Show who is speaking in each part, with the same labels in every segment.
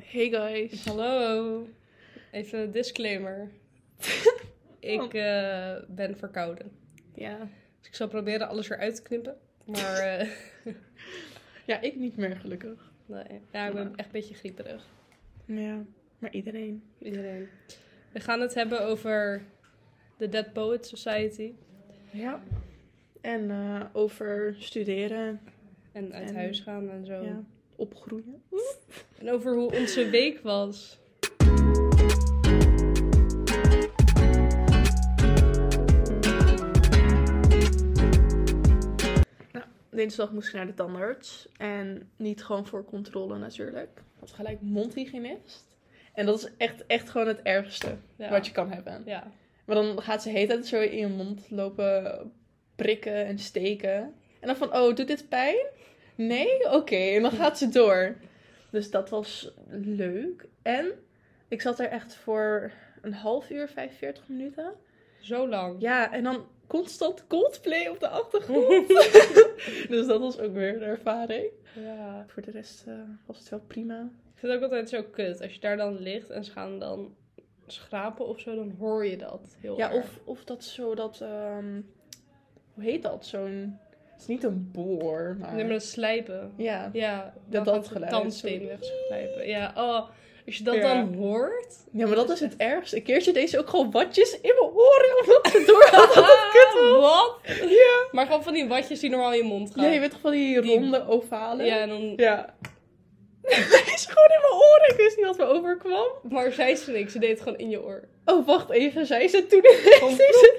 Speaker 1: Hey guys.
Speaker 2: Hallo. Even een disclaimer.
Speaker 1: Oh.
Speaker 2: ik eh, ben verkouden.
Speaker 1: Ja.
Speaker 2: Dus ik zal proberen alles eruit te knippen. Maar eh,
Speaker 1: Ja, ik niet meer gelukkig.
Speaker 2: nee. ja,
Speaker 1: Nou.
Speaker 2: ik ben echt een beetje grieperig.
Speaker 1: Ja, maar iedereen.
Speaker 2: Iedereen. We gaan het hebben over de Dead Poets Society.
Speaker 1: Ja. En eh, over studeren,
Speaker 2: En uit
Speaker 1: En-
Speaker 2: huis gaan en zo.
Speaker 1: ja, opgroeien.
Speaker 2: En over hoe onze week was.
Speaker 1: Dinsdag moest ik naar de tandarts. En niet gewoon voor controle natuurlijk. Ik Had gelijk mondhygiënist. En dat is echt, echt gewoon het ergste
Speaker 2: Ja.
Speaker 1: wat je kan hebben.
Speaker 2: Ja.
Speaker 1: Maar dan gaat ze heet het zo in je mond lopen prikken en steken. En dan van, oh, doet dit pijn? Nee? Oké. En dan gaat ze door. Dus dat was leuk. En ik zat er echt voor een half uur, 45 minuten.
Speaker 2: Zo lang.
Speaker 1: Ja, en dan constant Coldplay op de achtergrond. dus dat was ook weer een ervaring.
Speaker 2: Ja.
Speaker 1: Voor de rest eh, was het wel prima.
Speaker 2: Ik vind het ook altijd zo kut. Als je daar dan ligt en ze gaan dan schrapen of zo, dan hoor je dat heel
Speaker 1: Ja,
Speaker 2: erg.
Speaker 1: of, of dat zo dat... ehm, hoe heet dat? Zo'n... Het is niet een boor, maar...
Speaker 2: Nee, maar dat slijpen.
Speaker 1: Ja,
Speaker 2: Ja,
Speaker 1: dat
Speaker 2: dan gaat de
Speaker 1: geluid,
Speaker 2: tandsteen
Speaker 1: sorry.
Speaker 2: wegslijpen. Ja, oh, als je dat
Speaker 1: Ja.
Speaker 2: dan hoort.
Speaker 1: Ja, maar dat is het ergste. Een keertje deed ze ook gewoon watjes in mijn oren omdat ze door had dat het kut was.
Speaker 2: Ah, wat?
Speaker 1: Ja.
Speaker 2: Maar gewoon van die watjes die normaal in je mond gaan.
Speaker 1: ja, je weet toch van die
Speaker 2: Die-
Speaker 1: ronde ovalen?
Speaker 2: Ja, en dan...
Speaker 1: Ja. Het is gewoon in mijn oren. Ik wist niet wat me overkwam.
Speaker 2: Maar zei ze niks, ze deed het gewoon in je oor.
Speaker 1: Oh, wacht even. Zei ze toen ineens.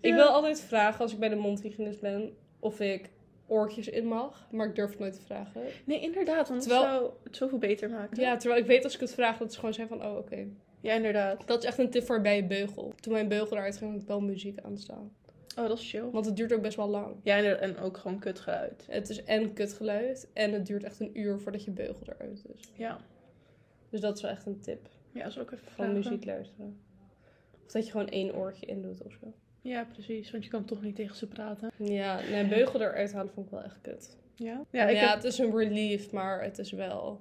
Speaker 2: Ik
Speaker 1: Ja.
Speaker 2: wil altijd vragen, als ik bij de mondhygiënist ben, of ik oortjes in mag. Maar ik durf het nooit te vragen.
Speaker 1: Nee, inderdaad. Want het
Speaker 2: Terwijl-
Speaker 1: zou het zoveel beter maken.
Speaker 2: Ja, terwijl ik weet als ik het vraag, dat ze gewoon zeggen van, oh, oké.
Speaker 1: Ja, inderdaad.
Speaker 2: Dat is echt een tip voor bij je beugel. Toen mijn beugel eruit ging, had ik wel muziek aanstaan.
Speaker 1: Oh, dat is chill.
Speaker 2: Want het duurt ook best wel lang.
Speaker 1: Ja, inderdaad, en ook gewoon kut geluid.
Speaker 2: Het is en kutgeluid en het duurt echt een uur voordat je beugel eruit is.
Speaker 1: Ja.
Speaker 2: Dus dat is wel echt een tip.
Speaker 1: Ja, dat is ook even
Speaker 2: Gewoon
Speaker 1: vragen.
Speaker 2: muziek luisteren. Of dat je gewoon één oortje in doet of zo.
Speaker 1: Ja, precies. Want je kan toch niet tegen ze praten.
Speaker 2: Ja, nee, beugel eruit halen vond ik wel echt kut.
Speaker 1: Ja. Ja,
Speaker 2: Ja,
Speaker 1: ik heb
Speaker 2: het is een relief, maar het is wel...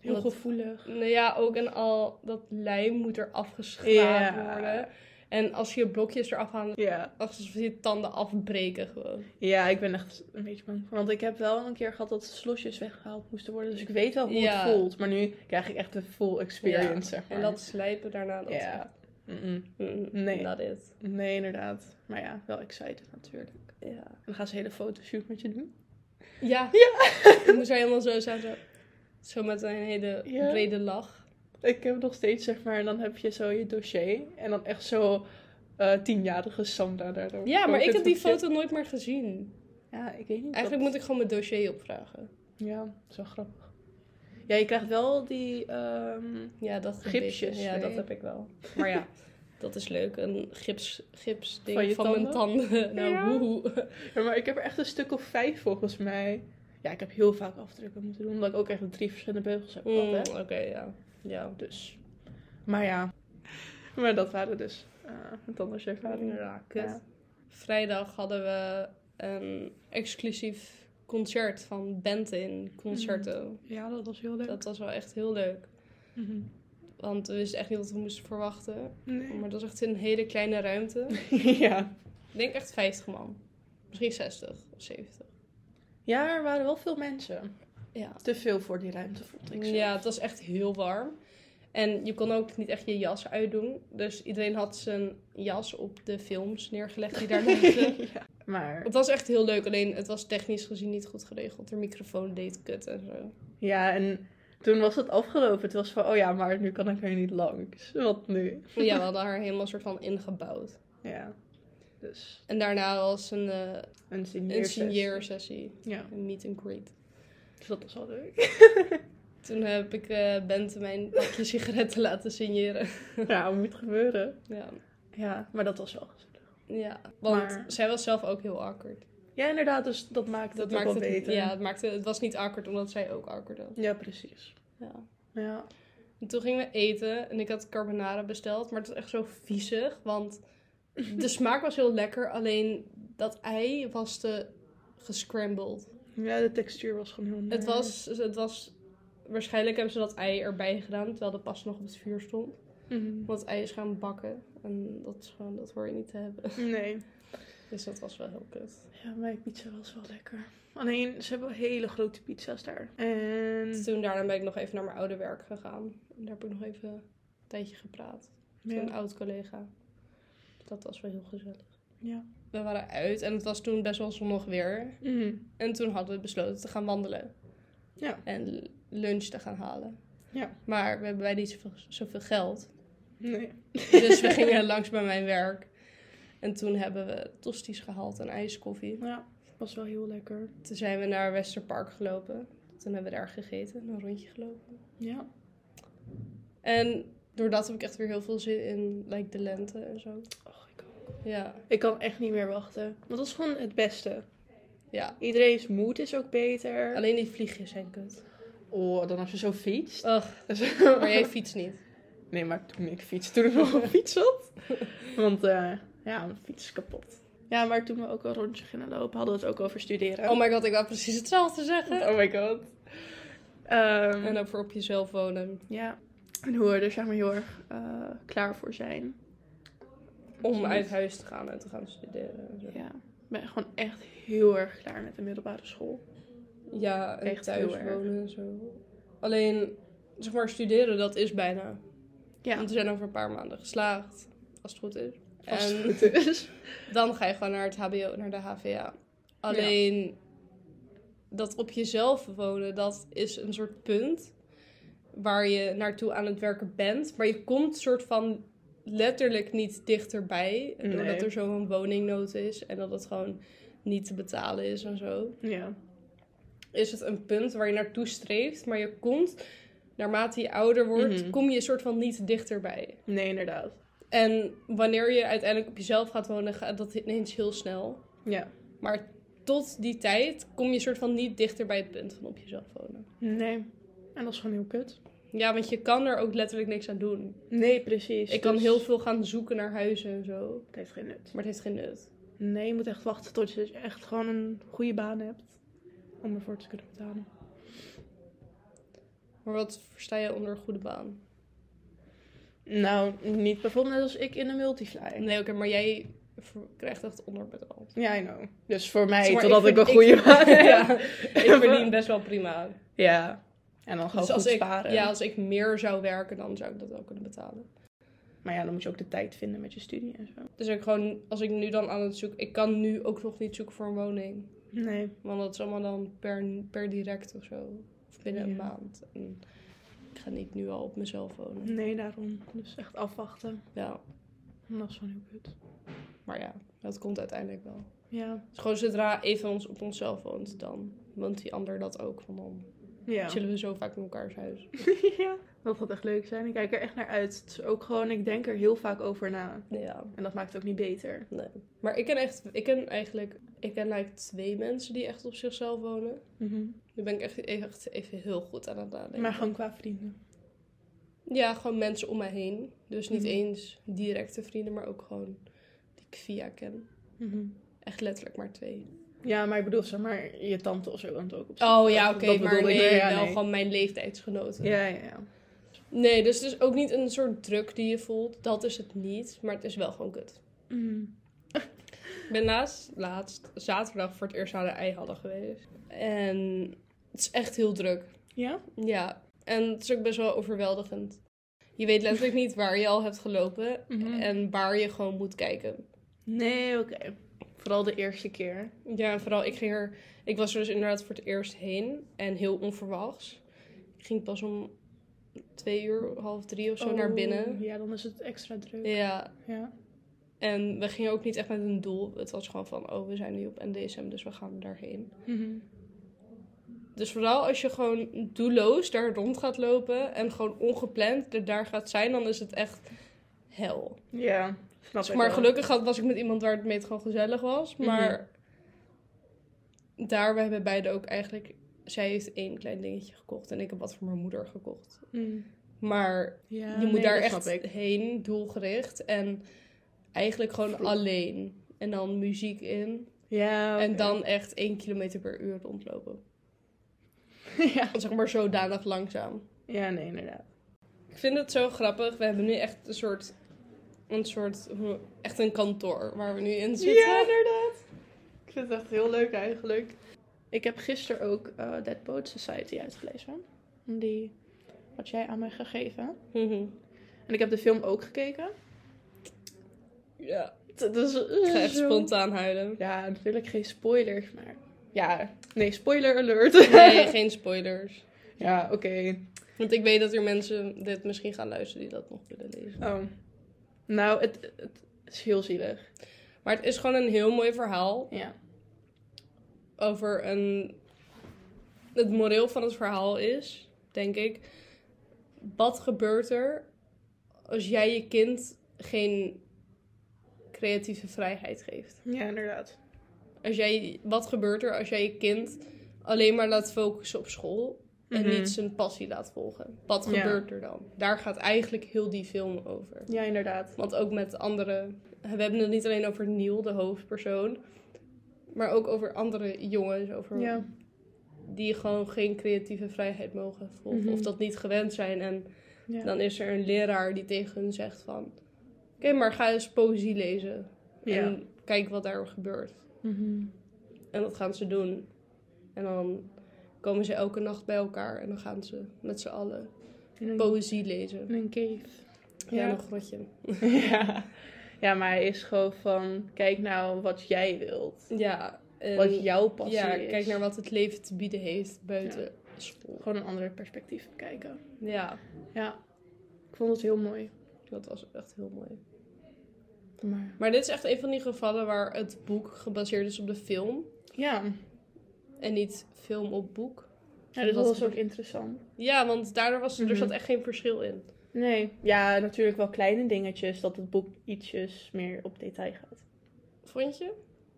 Speaker 1: heel
Speaker 2: Wat-
Speaker 1: gevoelig.
Speaker 2: Nou ja, ook en al dat lijm moet er afgeschraapt
Speaker 1: Ja.
Speaker 2: worden. En als je blokjes eraf haalt,
Speaker 1: Ja.
Speaker 2: alsof je tanden afbreken gewoon.
Speaker 1: Ja, ik ben echt een beetje bang. Want ik heb wel een keer gehad dat slosjes weggehaald moesten worden. Dus ik weet wel hoe
Speaker 2: Ja.
Speaker 1: het voelt. Maar nu krijg ik echt de full experience,
Speaker 2: Ja,
Speaker 1: zeg maar.
Speaker 2: En dat slijpen daarna, dat
Speaker 1: Ja. Mm-mm.
Speaker 2: nee.
Speaker 1: Nee.
Speaker 2: dat is.
Speaker 1: Nee, inderdaad. Maar ja, wel excited natuurlijk.
Speaker 2: Ja.
Speaker 1: En dan gaan ze een hele fotoshoot met je doen.
Speaker 2: Ja. Ik moest er helemaal zo staan, zo, zo met een hele
Speaker 1: Ja.
Speaker 2: brede lach.
Speaker 1: Ik heb nog steeds, zeg maar, en dan heb je zo je dossier. En dan echt zo eh, tienjarige Sandra daar.
Speaker 2: Ja, maar ik heb die
Speaker 1: foto
Speaker 2: foto nooit meer gezien.
Speaker 1: Ja, ik weet niet.
Speaker 2: Eigenlijk moet ik gewoon mijn dossier opvragen.
Speaker 1: ik... Ja, zo grappig. Ja, je krijgt wel die... ehm,
Speaker 2: Ja, dat een
Speaker 1: Gipsjes,
Speaker 2: beetje. Ja,
Speaker 1: nee.
Speaker 2: dat heb ik wel. Maar ja, dat is leuk. Een gips, gips ding
Speaker 1: Van
Speaker 2: van,
Speaker 1: je
Speaker 2: mijn tanden. Nou,
Speaker 1: Ja.
Speaker 2: woehoe.
Speaker 1: Ja, maar ik heb er echt een stuk of vijf volgens mij. Ja, ik heb heel vaak afdrukken moeten doen, omdat ik ook echt drie verschillende beugels heb gehad,
Speaker 2: Mm,
Speaker 1: hè.
Speaker 2: Oké, ja. Ja.
Speaker 1: Dus. Maar ja. Maar dat waren dus eh tandartservaringen.
Speaker 2: Mm, Ja, kut.
Speaker 1: Ja.
Speaker 2: Vrijdag hadden we een exclusief concert van Bente in Concerto.
Speaker 1: Ja, dat was heel leuk.
Speaker 2: Dat was wel echt heel leuk.
Speaker 1: Mhm.
Speaker 2: Want we wisten echt niet wat we moesten verwachten.
Speaker 1: Nee.
Speaker 2: Maar dat is echt een hele kleine ruimte.
Speaker 1: ja.
Speaker 2: Ik denk echt 50 man. Misschien 60 of 70.
Speaker 1: Ja, er waren wel veel mensen.
Speaker 2: Ja.
Speaker 1: Te veel voor die ruimte, vond ik zo.
Speaker 2: Ja, het was echt heel warm. En je kon ook niet echt je jas uitdoen. Dus iedereen had zijn jas op de films neergelegd die daar liggen.
Speaker 1: Ja. Maar
Speaker 2: Het was echt heel leuk, alleen het was technisch gezien niet goed geregeld. De microfoon deed kut en zo.
Speaker 1: ja, en toen was het afgelopen. Het was van, oh ja, maar nu kan ik er niet langs. Wat nu?
Speaker 2: Ja, we hadden haar helemaal soort van ingebouwd.
Speaker 1: Ja. Dus
Speaker 2: En daarna was een eh
Speaker 1: een
Speaker 2: een
Speaker 1: signeersessie.
Speaker 2: sessie
Speaker 1: Ja,
Speaker 2: een meet and greet.
Speaker 1: dus dat was wel leuk.
Speaker 2: Toen heb ik eh Bente mijn pakje sigaretten laten signeren.
Speaker 1: Ja, moet gebeuren.
Speaker 2: Ja,
Speaker 1: Ja, maar dat was wel gezellig.
Speaker 2: ja. want
Speaker 1: Maar-
Speaker 2: zij was zelf ook heel awkward.
Speaker 1: Ja, inderdaad, dus dat maakt het ook wel
Speaker 2: het,
Speaker 1: beter.
Speaker 2: Ja, het, maakte, het was niet awkward omdat zij ook awkward was.
Speaker 1: Ja, precies.
Speaker 2: Ja.
Speaker 1: Ja.
Speaker 2: En toen gingen we eten en ik had carbonara besteld, maar het was echt zo viezig, want de smaak was heel lekker, alleen dat ei was te gescrambled.
Speaker 1: ja, de textuur was gewoon heel
Speaker 2: Het
Speaker 1: naar.
Speaker 2: was, het was waarschijnlijk hebben ze dat ei erbij gedaan, terwijl de pas nog op het vuur stond.
Speaker 1: Mhm.
Speaker 2: Want het ei is gaan bakken en dat, is gewoon, dat hoor je niet te hebben.
Speaker 1: Nee.
Speaker 2: Dus dat was wel heel kut.
Speaker 1: Ja, mijn pizza was wel lekker. Alleen, ze hebben wel hele grote pizza's daar. En...
Speaker 2: Toen daarna ben ik nog even naar mijn oude werk gegaan. En daar heb ik nog even een tijdje gepraat met een
Speaker 1: Ja.
Speaker 2: oud collega. Dat was wel heel gezellig.
Speaker 1: ja.
Speaker 2: We waren uit en het was toen best wel zonnig weer.
Speaker 1: Mhm.
Speaker 2: En toen hadden we besloten te gaan wandelen.
Speaker 1: Ja.
Speaker 2: En l- lunch te gaan halen.
Speaker 1: Ja.
Speaker 2: Maar we hebben bijna niet zoveel, zoveel geld.
Speaker 1: Nee.
Speaker 2: Dus we gingen langs bij mijn werk. En toen hebben we tosties gehaald en ijskoffie.
Speaker 1: Ja, was wel heel lekker.
Speaker 2: Toen zijn we naar Westerpark gelopen. Toen hebben we daar gegeten en een rondje gelopen.
Speaker 1: Ja.
Speaker 2: En doordat heb ik echt weer heel veel zin in like, de lente en zo.
Speaker 1: Och, ik,
Speaker 2: Ja,
Speaker 1: ik kan echt niet meer wachten. Want dat is gewoon het beste.
Speaker 2: ja.
Speaker 1: Iedereen's moed is ook beter.
Speaker 2: Alleen die vliegjes zijn kut.
Speaker 1: Oh, dan als je zo fietst.
Speaker 2: Ugh, maar jij fietst niet.
Speaker 1: Nee, maar toen ik fiets, toen ik nog op fiets zat. Want eh, ja, mijn fiets is kapot. Ja, maar toen we ook een rondje gingen lopen, hadden we het ook over studeren.
Speaker 2: Oh my god, ik wou precies hetzelfde zeggen.
Speaker 1: Oh my god. Ehm,
Speaker 2: En over op jezelf wonen.
Speaker 1: ja. En hoe we er zeg maar heel erg eh, klaar voor zijn.
Speaker 2: Om uit huis te gaan en te gaan studeren. en zo.
Speaker 1: Ja. Ik ben gewoon echt heel erg klaar met de middelbare school.
Speaker 2: Ja, en
Speaker 1: Echt
Speaker 2: thuis
Speaker 1: heel erg.
Speaker 2: wonen en zo. Alleen, zeg maar, studeren, dat is bijna.
Speaker 1: Ja.
Speaker 2: Want we zijn over een paar maanden geslaagd, als het goed is.
Speaker 1: Als het
Speaker 2: En
Speaker 1: goed is.
Speaker 2: dan ga je gewoon naar het HBO, naar de HVA. Alleen, dat op jezelf wonen, dat is een soort punt waar je naartoe aan het werken bent. Maar je komt soort van letterlijk niet dichterbij.
Speaker 1: Nee.
Speaker 2: Doordat er zo'n woningnood is en dat het gewoon niet te betalen is en zo
Speaker 1: Ja.
Speaker 2: is het een punt waar je naartoe streeft, maar je komt, naarmate je ouder wordt,
Speaker 1: Mhm.
Speaker 2: kom je soort van niet dichterbij.
Speaker 1: Nee, inderdaad.
Speaker 2: En wanneer je uiteindelijk op jezelf gaat wonen, gaat dat ineens heel snel.
Speaker 1: Ja.
Speaker 2: Maar tot die tijd kom je soort van niet dichter bij het punt van op jezelf wonen.
Speaker 1: Nee. En dat is gewoon heel kut.
Speaker 2: Ja, want je kan er ook letterlijk niks aan doen.
Speaker 1: Nee, precies.
Speaker 2: Ik kan
Speaker 1: Dus
Speaker 2: heel veel gaan zoeken naar huizen en zo,
Speaker 1: Het heeft geen nut.
Speaker 2: maar het heeft geen nut.
Speaker 1: Nee, je moet echt wachten tot je echt gewoon een goede baan hebt. Om ervoor te kunnen betalen.
Speaker 2: Maar wat versta je onder een goede baan?
Speaker 1: Nou, niet bijvoorbeeld net als ik in een multifly.
Speaker 2: Nee, oké, maar jij ver- krijgt echt onderbetaald.
Speaker 1: Ja, I know. Dus voor mij,
Speaker 2: Zeg maar,
Speaker 1: totdat ik,
Speaker 2: vind-
Speaker 1: een goede baan heb.
Speaker 2: ja, ik verdien best wel prima.
Speaker 1: Ja. En dan gewoon
Speaker 2: Dus
Speaker 1: goed
Speaker 2: als ik,
Speaker 1: sparen.
Speaker 2: ja, als ik meer zou werken, dan zou ik dat wel kunnen betalen.
Speaker 1: Maar ja, dan moet je ook de tijd vinden met je studie en zo.
Speaker 2: Dus ik gewoon, als ik nu dan aan het zoeken... Ik kan nu ook nog niet zoeken voor een woning.
Speaker 1: Nee.
Speaker 2: Want dat is allemaal dan per, per direct of zo. Of binnen een
Speaker 1: Ja.
Speaker 2: maand. En ik ga niet nu al op mezelf wonen.
Speaker 1: Nee, daarom. Dus echt afwachten.
Speaker 2: Ja,
Speaker 1: En dat is gewoon heel kut.
Speaker 2: maar ja, dat komt uiteindelijk wel.
Speaker 1: Ja.
Speaker 2: Dus gewoon zodra een van ons op onszelf woont, dan woont die ander dat ook. Van dan
Speaker 1: Ja.
Speaker 2: chillen we zo vaak in elkaars huis.
Speaker 1: ja. Dat gaat echt leuk zijn. Ik kijk er echt naar uit. Het is ook gewoon, ik denk er heel vaak over na.
Speaker 2: Ja.
Speaker 1: En dat maakt het ook niet beter.
Speaker 2: Maar ik ken echt, ik ken eigenlijk, ik ken like twee mensen die echt op zichzelf wonen.
Speaker 1: Mhm.
Speaker 2: Nu ben ik echt, echt even heel goed aan het nadenken.
Speaker 1: Maar gewoon qua vrienden.
Speaker 2: Ja, gewoon mensen om mij heen. Dus niet
Speaker 1: Mhm.
Speaker 2: eens directe vrienden, maar ook gewoon die ik via ken.
Speaker 1: Mhm.
Speaker 2: Echt letterlijk maar twee.
Speaker 1: Ja, maar ik bedoel, zeg maar, je tante of zo woont ook op
Speaker 2: Oh
Speaker 1: zich.
Speaker 2: ja,
Speaker 1: Dat
Speaker 2: oké,
Speaker 1: bedoelde
Speaker 2: maar
Speaker 1: ik,
Speaker 2: nee,
Speaker 1: ja,
Speaker 2: wel
Speaker 1: nee.
Speaker 2: gewoon mijn leeftijdsgenoten.
Speaker 1: Ja, ja, ja.
Speaker 2: Nee, dus het is ook niet een soort druk die je voelt. Dat is het niet, maar het is wel gewoon kut. Mhm. Ik ben laatst, laatst zaterdag voor het eerst aan de ei hadden geweest. En het is echt heel druk.
Speaker 1: Ja?
Speaker 2: Ja, en het is ook best wel overweldigend. Je weet letterlijk niet waar je al hebt gelopen
Speaker 1: Mhm.
Speaker 2: en waar je gewoon moet kijken.
Speaker 1: Nee, oké. Vooral de eerste keer.
Speaker 2: Ja, en vooral ik ging er, ik was er dus inderdaad voor het eerst heen en heel onverwachts. Ik ging pas om twee uur, half drie of zo
Speaker 1: Oh,
Speaker 2: naar binnen.
Speaker 1: Ja, dan is het extra druk.
Speaker 2: Ja,
Speaker 1: Ja.
Speaker 2: en we gingen ook niet echt met een doel. Het was gewoon van, oh, we zijn nu op NDSM, dus we gaan daarheen. Dus vooral als je gewoon doelloos daar rond gaat lopen en gewoon ongepland er daar gaat zijn, dan is het echt hel.
Speaker 1: Ja, snap
Speaker 2: Zeg
Speaker 1: ik
Speaker 2: maar
Speaker 1: wel. Mhm.
Speaker 2: gelukkig had, was ik met iemand waar het mee het gewoon gezellig was. Maar daar, we hebben beide ook eigenlijk... Zij heeft één klein dingetje gekocht en ik heb wat voor mijn moeder gekocht.
Speaker 1: Mm.
Speaker 2: Maar
Speaker 1: Ja,
Speaker 2: je moet
Speaker 1: nee,
Speaker 2: daar
Speaker 1: dat
Speaker 2: echt
Speaker 1: snap ik.
Speaker 2: heen, doelgericht. En eigenlijk gewoon
Speaker 1: Vroeg.
Speaker 2: alleen. En dan muziek in.
Speaker 1: Ja,
Speaker 2: En
Speaker 1: oké.
Speaker 2: dan echt één kilometer per uur rondlopen.
Speaker 1: ja.
Speaker 2: Zeg maar zodanig langzaam.
Speaker 1: ja, nee, inderdaad.
Speaker 2: Ik vind het zo grappig. We hebben nu echt een soort... Een soort... hoe- Echt een kantoor waar we nu in zitten.
Speaker 1: Ja, inderdaad. Ik vind het echt heel leuk eigenlijk. Ik heb gisteren ook eh, Dead Boat Society uitgelezen. Die had jij aan mij gegeven.
Speaker 2: Mhm.
Speaker 1: En ik heb de film ook gekeken.
Speaker 2: ja.
Speaker 1: T- Dus,
Speaker 2: Ik ga echt
Speaker 1: zo-
Speaker 2: spontaan huilen.
Speaker 1: Ja, natuurlijk geen spoilers, maar... Ja, nee, spoiler alert.
Speaker 2: Nee, geen spoilers.
Speaker 1: ja, oké.
Speaker 2: Want ik weet dat er mensen dit misschien gaan luisteren die dat nog willen lezen.
Speaker 1: Oh. Nou, het, het is heel zielig.
Speaker 2: Maar het is gewoon een heel mooi verhaal
Speaker 1: Ja.
Speaker 2: over een... Het moreel van het verhaal is, denk ik... Wat gebeurt er als jij je kind geen creatieve vrijheid geeft?
Speaker 1: Ja, inderdaad.
Speaker 2: Als jij, wat gebeurt er als jij je kind alleen maar laat focussen op school... en
Speaker 1: Mhm.
Speaker 2: niet zijn passie laat volgen? Wat
Speaker 1: Ja.
Speaker 2: gebeurt er dan? Daar gaat eigenlijk heel die film over.
Speaker 1: Ja, inderdaad.
Speaker 2: Want ook met andere. We hebben het niet alleen over Neil, de hoofdpersoon. Maar ook over andere jongens. Over
Speaker 1: Ja.
Speaker 2: Die gewoon geen creatieve vrijheid mogen volgen.
Speaker 1: Mhm.
Speaker 2: Of dat niet gewend zijn. En
Speaker 1: Ja.
Speaker 2: dan is er een leraar die tegen hun zegt van... Oké, maar ga eens poëzie lezen.
Speaker 1: ja.
Speaker 2: En kijk wat daar gebeurt.
Speaker 1: Mhm.
Speaker 2: En dat gaan ze doen. En dan komen ze elke nacht bij elkaar. En dan gaan ze met z'n allen
Speaker 1: In een-
Speaker 2: poëzie lezen.
Speaker 1: in een cave.
Speaker 2: Mm. Ja,
Speaker 1: Ja.
Speaker 2: nog een grotje.
Speaker 1: ja. ja, maar hij is gewoon van, kijk nou wat jij wilt.
Speaker 2: Ja. en-
Speaker 1: Wat jouw passie
Speaker 2: ja,
Speaker 1: is.
Speaker 2: kijk naar wat het leven te bieden heeft buiten school.
Speaker 1: Gewoon een ander perspectief bekijken.
Speaker 2: Ja,
Speaker 1: Ja, ik vond het heel mooi.
Speaker 2: dat was echt heel mooi.
Speaker 1: Maar...
Speaker 2: Maar dit is echt een van die gevallen waar het boek gebaseerd is op de film.
Speaker 1: Ja,
Speaker 2: En niet film op boek.
Speaker 1: ja dus dat
Speaker 2: Wat-
Speaker 1: was ook interessant.
Speaker 2: Ja, want daardoor was, er
Speaker 1: Mhm.
Speaker 2: zat echt geen verschil in.
Speaker 1: Nee, ja, natuurlijk wel kleine dingetjes, dat het boek ietsjes meer op detail gaat.
Speaker 2: Vond je?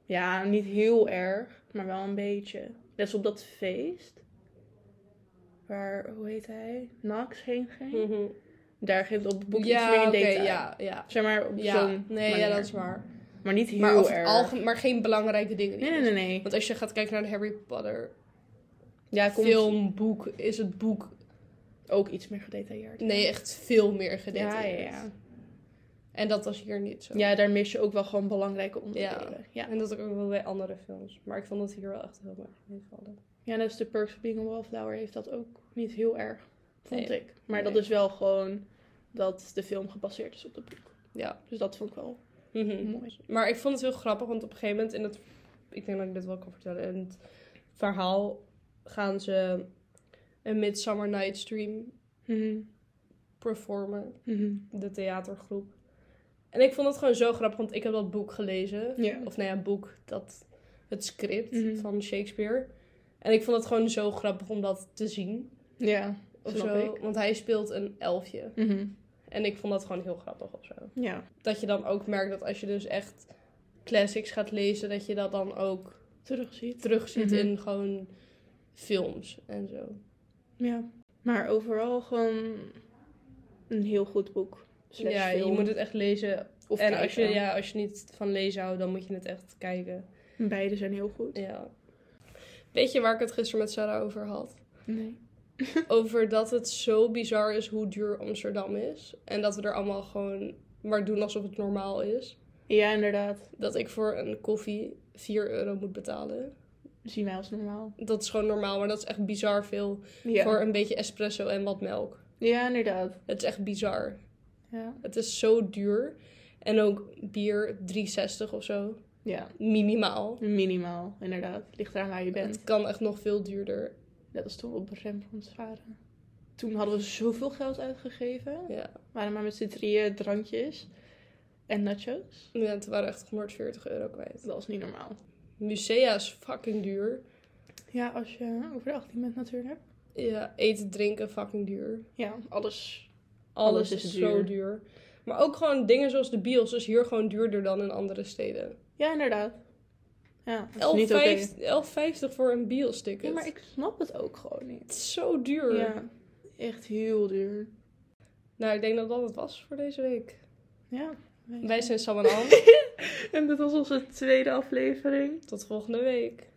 Speaker 1: Ja, niet heel erg, maar wel een beetje. Net als op dat feest, waar, hoe heet hij, Nax heen ging.
Speaker 2: Mhm.
Speaker 1: Daar geeft het op het boek iets
Speaker 2: ja,
Speaker 1: meer in
Speaker 2: oké,
Speaker 1: detail.
Speaker 2: ja, ja.
Speaker 1: Zeg maar op
Speaker 2: Ja,
Speaker 1: zo'n
Speaker 2: nee, ja,
Speaker 1: manier.
Speaker 2: dat is waar.
Speaker 1: Maar niet heel
Speaker 2: Maar, over het
Speaker 1: erg.
Speaker 2: algemeen, maar geen belangrijke dingen.
Speaker 1: Nee, nee, nee, nee.
Speaker 2: Want als je gaat kijken naar de Harry Potter
Speaker 1: Ja, komt
Speaker 2: film, boek, is het boek
Speaker 1: ook iets meer gedetailleerd.
Speaker 2: nee, echt veel meer
Speaker 1: ja,
Speaker 2: gedetailleerd.
Speaker 1: ja, ja.
Speaker 2: En dat was hier niet zo.
Speaker 1: Ja, daar mis je ook wel gewoon belangrijke onderdelen. Ja, ja.
Speaker 2: En dat ook wel bij andere films. Maar ik vond het hier wel echt heel erg meevallen.
Speaker 1: net als The Perks of Being a Wallflower heeft dat ook niet heel erg, vond
Speaker 2: Nee.
Speaker 1: ik. Maar dat
Speaker 2: Nee.
Speaker 1: is wel gewoon dat de film gebaseerd is op het boek.
Speaker 2: Ja. Mm-hmm.
Speaker 1: Dus dat vond ik wel mooi.
Speaker 2: Mhm. Maar ik vond het heel grappig, want op een gegeven moment in het... Ik denk dat ik dit wel kan vertellen. In het verhaal gaan ze een Midsummer Night's Dream
Speaker 1: Mhm.
Speaker 2: performen.
Speaker 1: Mhm.
Speaker 2: De theatergroep. En ik vond het gewoon zo grappig, want ik heb dat boek gelezen.
Speaker 1: Ja.
Speaker 2: Of nou ja, boek, dat, het script
Speaker 1: Mhm.
Speaker 2: van Shakespeare. En ik vond het gewoon zo grappig om dat te zien.
Speaker 1: Ja,
Speaker 2: Of
Speaker 1: snap
Speaker 2: zo.
Speaker 1: ik.
Speaker 2: Want hij speelt een elfje.
Speaker 1: Mhm.
Speaker 2: En ik vond dat gewoon heel grappig of zo.
Speaker 1: Ja,
Speaker 2: Dat je dan ook merkt dat als je dus echt classics gaat lezen, dat je dat dan ook
Speaker 1: terugziet.
Speaker 2: terugziet
Speaker 1: Mhm.
Speaker 2: in gewoon films en zo.
Speaker 1: Ja. Maar overal gewoon een heel goed boek. Slash
Speaker 2: ja, je
Speaker 1: film.
Speaker 2: moet het echt lezen.
Speaker 1: Of
Speaker 2: en als je,
Speaker 1: kijken.
Speaker 2: ja, als je niet van lezen houdt, dan moet je het echt kijken.
Speaker 1: Beide zijn heel goed.
Speaker 2: Ja. Weet je waar ik het gisteren met Sarah over had?
Speaker 1: Nee.
Speaker 2: Over dat het zo bizar is hoe duur Amsterdam is. En dat we er allemaal gewoon maar doen alsof het normaal is.
Speaker 1: Ja, inderdaad.
Speaker 2: Dat ik voor een koffie 4 euro moet betalen.
Speaker 1: Zien wij als normaal.
Speaker 2: Dat is gewoon normaal, maar dat is echt bizar veel.
Speaker 1: Ja,
Speaker 2: voor een beetje espresso en wat melk.
Speaker 1: ja inderdaad.
Speaker 2: Het is echt bizar.
Speaker 1: Ja.
Speaker 2: Het is zo duur. En ook bier 3,60 of zo.
Speaker 1: ja,
Speaker 2: Minimaal.
Speaker 1: minimaal, inderdaad. Ligt eraan waar je bent.
Speaker 2: Het kan echt nog veel duurder.
Speaker 1: Net als toen we op Rembrandt waren. Toen hadden we zoveel geld uitgegeven.
Speaker 2: Ja.
Speaker 1: We waren maar met z'n drieën drankjes en nachos.
Speaker 2: Ja, het waren echt 140 euro kwijt.
Speaker 1: Dat was niet normaal.
Speaker 2: Musea is fucking duur.
Speaker 1: Ja, als je over de 18 bent natuurlijk.
Speaker 2: Ja, eten, drinken, fucking duur.
Speaker 1: Ja, alles.
Speaker 2: Alles,
Speaker 1: Alles
Speaker 2: is,
Speaker 1: is
Speaker 2: zo
Speaker 1: duur.
Speaker 2: duur. Maar ook gewoon dingen zoals de bios is hier gewoon duurder dan in andere steden. 11,50
Speaker 1: Ja, inderdaad. Ja, dat is niet oké.
Speaker 2: 11,50 voor een bios ticket.
Speaker 1: Ja, maar ik snap het ook gewoon niet.
Speaker 2: Het is zo duur.
Speaker 1: Ja, echt heel duur.
Speaker 2: Nou, ik denk dat dat het was voor deze week.
Speaker 1: Ja.
Speaker 2: Wij zijn Sam en Ann.
Speaker 1: En dit was onze tweede aflevering.
Speaker 2: Tot volgende week.